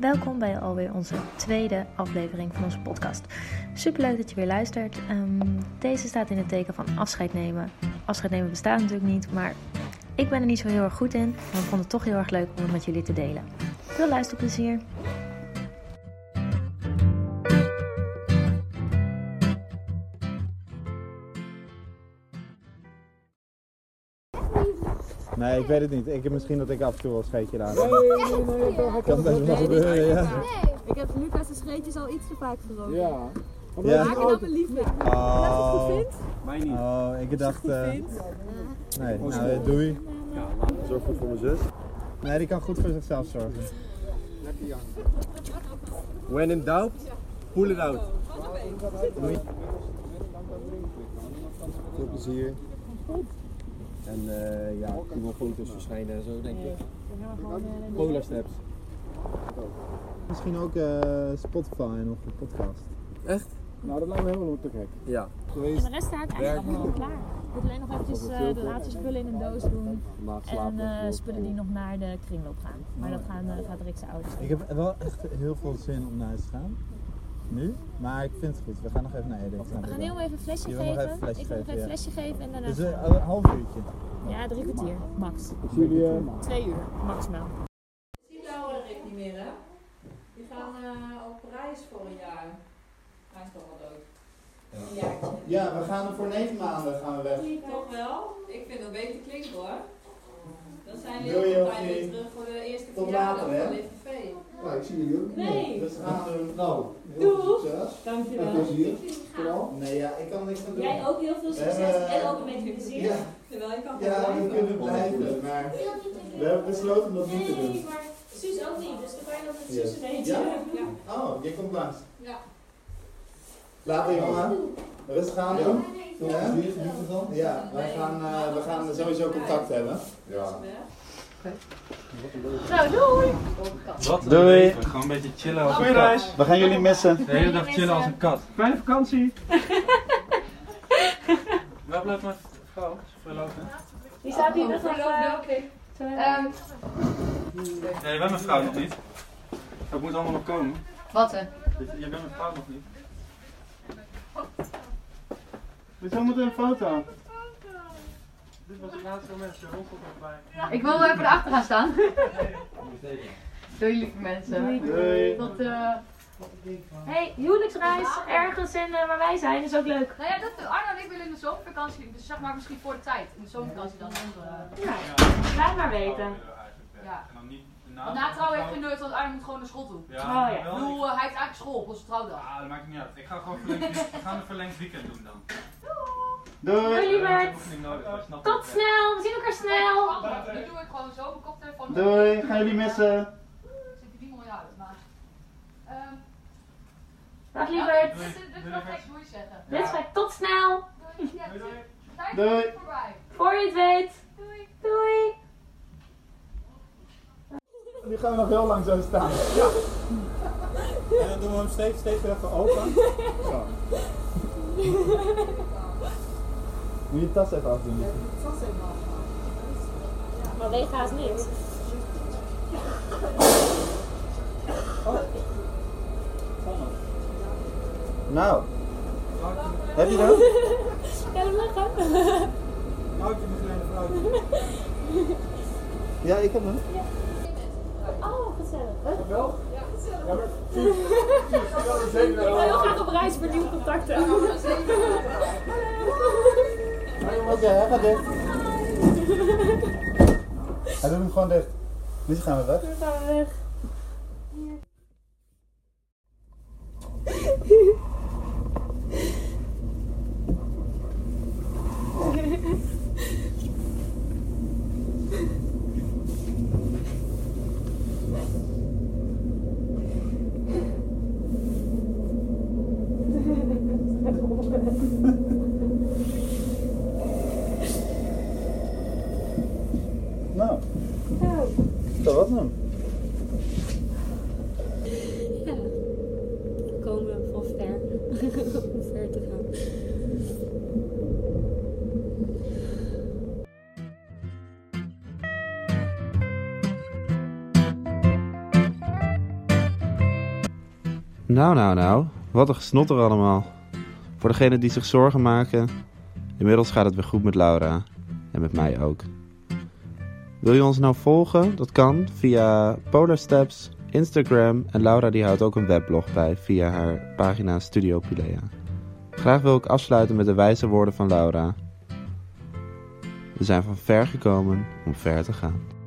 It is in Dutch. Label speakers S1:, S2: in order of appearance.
S1: Welkom bij alweer onze tweede aflevering van onze podcast. Superleuk dat je weer luistert. Ehm, deze staat in het teken van afscheid nemen. Afscheid nemen bestaat natuurlijk niet, maar ik ben er niet zo heel erg goed in. Maar ik vond het toch heel erg leuk om het met jullie te delen. Veel luisterplezier!
S2: Nee, ik weet het niet. Ik heb misschien dat ik af en toe wel een scheetje laat. kan best wel gebeuren, ja.
S3: Ik heb Lucas' scheetjes al iets te vaak geroken.
S4: Ja.
S2: Ja.
S3: Maak er dan een liefde.
S2: Oh,
S4: Mij niet.
S2: oh ik dacht... eh, nee, nou, eh, doei.
S4: Zorg goed voor mijn zus.
S2: Nee, die kan goed voor zichzelf zorgen.
S4: When in doubt, pull it out. Veel plezier. En eh, ja, ik doe wel foto's verschijnen en zo, denk ik. Polar steps.
S2: Misschien ook eh, Spotify nog een podcast.
S4: Echt?
S2: Nou, dat lijkt me helemaal te gek.
S4: Ja.
S2: Geweest.
S3: De rest staat eigenlijk allemaal al klaar. Ik moet alleen nog eventjes eh, de laatste spullen in een doos doen.
S4: Laat
S3: En
S4: slapen.
S3: eh, spullen die nog naar de kringloop gaan. Maar dat gaan, eh, gaat Rick zijn ouders doen.
S2: Ik heb wel echt heel veel zin om naar huis te gaan. Nu. Maar ik vind het goed. We gaan nog even naar Edith.
S3: We gaan heel even een flesje
S2: Je wil nog
S3: geven.
S2: even een flesje
S3: ik wil nog
S2: geven,
S3: even een
S2: ja.
S3: flesje geven en daarna.
S2: Dus eh, een half uurtje.
S3: ja, drie kwartier, max.
S2: Jullie... eh,
S3: Twee uur, maximaal.
S5: Die Lauw en Rick niet meer, hè? Die gaan eh, op reis voor een jaar. Hij is toch al dood. Een jaartje.
S2: Ja, we gaan voor negen maanden gaan we weg.
S5: Toch wel? Ik vind dat beter klinken hoor. Dan zijn
S2: Wil je
S5: we op
S2: of
S5: tijd weer
S2: niet?
S5: terug voor de eerste
S2: Tot
S5: verjaardag
S2: later, hè?
S5: van Lichtenveen.
S4: Ja, ik zie jullie.
S5: Nee!
S2: Dus we gaan doen. Nou,
S5: Doe!
S2: succes.
S5: Dankjewel.
S2: Nee, ja, ik kan niks aan doen.
S5: Jij ook heel veel succes
S2: Eh,
S5: en ook een beetje plezier.
S2: Ja,
S5: Terwijl je kan
S2: ja,
S5: gewoon
S2: we
S5: blijven.
S2: kunnen blijven, maar we hebben besloten om dat niet te doen.
S6: maar Suus ook niet, dus dan kan je dat met
S2: Ja.
S6: Suus weten.
S2: Ja?
S5: Ja.
S2: Oh, jij komt langs.
S5: Ja.
S2: Later, jongen. Rustig aan doen. Ja, ja wij
S5: Nee.
S2: gaan, eh, we gaan sowieso contact hebben.
S5: Ja.
S2: Doei.
S7: Gewoon een beetje chillen als
S2: Goeie
S7: een kat.
S2: We gaan jullie missen.
S7: De hele dag chillen als een kat. Fijne vakantie! Waar blijft mijn vrouw? Is verloofd,
S6: Die staat hier nog eh, ehm,
S7: Nee, je bent mijn vrouw nog niet. Dat moet allemaal nog komen.
S8: Wat hè?
S7: Je bent mijn vrouw nog niet.
S2: We zo moeten een foto.
S7: Dit was het laatste moment, je roffelt erbij.
S8: Ik wil wel even erachter gaan staan. Doei lieve mensen.
S2: Doei.
S8: Tot, eh
S6: Hey, huwelijksreis ergens en eh, waar wij zijn is ook leuk.
S8: Nou ja, dat, Arno en ik willen in de zomervakantie, dus zeg maar misschien voor de tijd. In de zomervakantie dan. eh,
S6: Laat maar weten.
S8: Ja.
S7: En dan niet de naam.
S8: Want Eh, na trouw heeft hij nooit, want Arno moet gewoon naar school toe.
S7: Ja,
S6: Oh, ja.
S8: Ik
S7: wel,
S8: bedoel,
S7: ik-
S8: eh, hij heeft eigenlijk school, op onze trouwdag.
S7: Ah, dat maakt niet uit. Ik ga gewoon verlengd weekend, we gaan een verlengd weekend doen dan.
S6: Doei
S7: Dat
S6: lieverd.
S7: hoeft niet nodig, dat snap
S6: Tot
S7: ik.
S6: snel, we zien elkaar snel.
S8: Nu doe ik gewoon zo mijn koptelefoon op.
S2: Doei, gaan jullie missen.
S8: Zit die niet mooi uit, maar... Ehm,
S6: Dag
S8: ja,
S6: lieverd.
S8: dit dit- dit is nog niks moeilijk zeggen.
S6: Dit is gek. tot snel.
S8: Doei. Ja,
S7: Doei, doei.
S8: de tijd
S2: Doei.
S8: is voorbij.
S6: Voor je het weet.
S8: Doei.
S6: Doei.
S2: Nu gaan we nog heel lang zo staan. Ja. En dan doen we hem steeds, steeds even open. Zo. Moet je je tas even afdoen.
S6: Maar weet haast niks.
S2: Nou. Heb je dat?
S6: Kan hem lachen?
S2: Ja, ik heb hem.
S6: Oh, gezellig.
S4: Zeker
S6: Ik wil heel graag op reis voor nieuwe contacten.
S2: Oké, hij gaat dicht. Hij doet hem gewoon dicht. Nu gaan we weg.
S6: gaan we weg.
S2: Nou, dat was hem. Nou, nou, nou. Wat een gesnotter allemaal. Voor degenen die zich zorgen maken. Inmiddels gaat het weer goed met Laura. En met mij ook. Wil je ons nou volgen? Dat kan via Polar Steps, Instagram. En Laura die houdt ook een weblog bij via haar pagina Studio Pilea. Graag wil ik afsluiten met de wijze woorden van Laura. We zijn van ver gekomen om ver te gaan.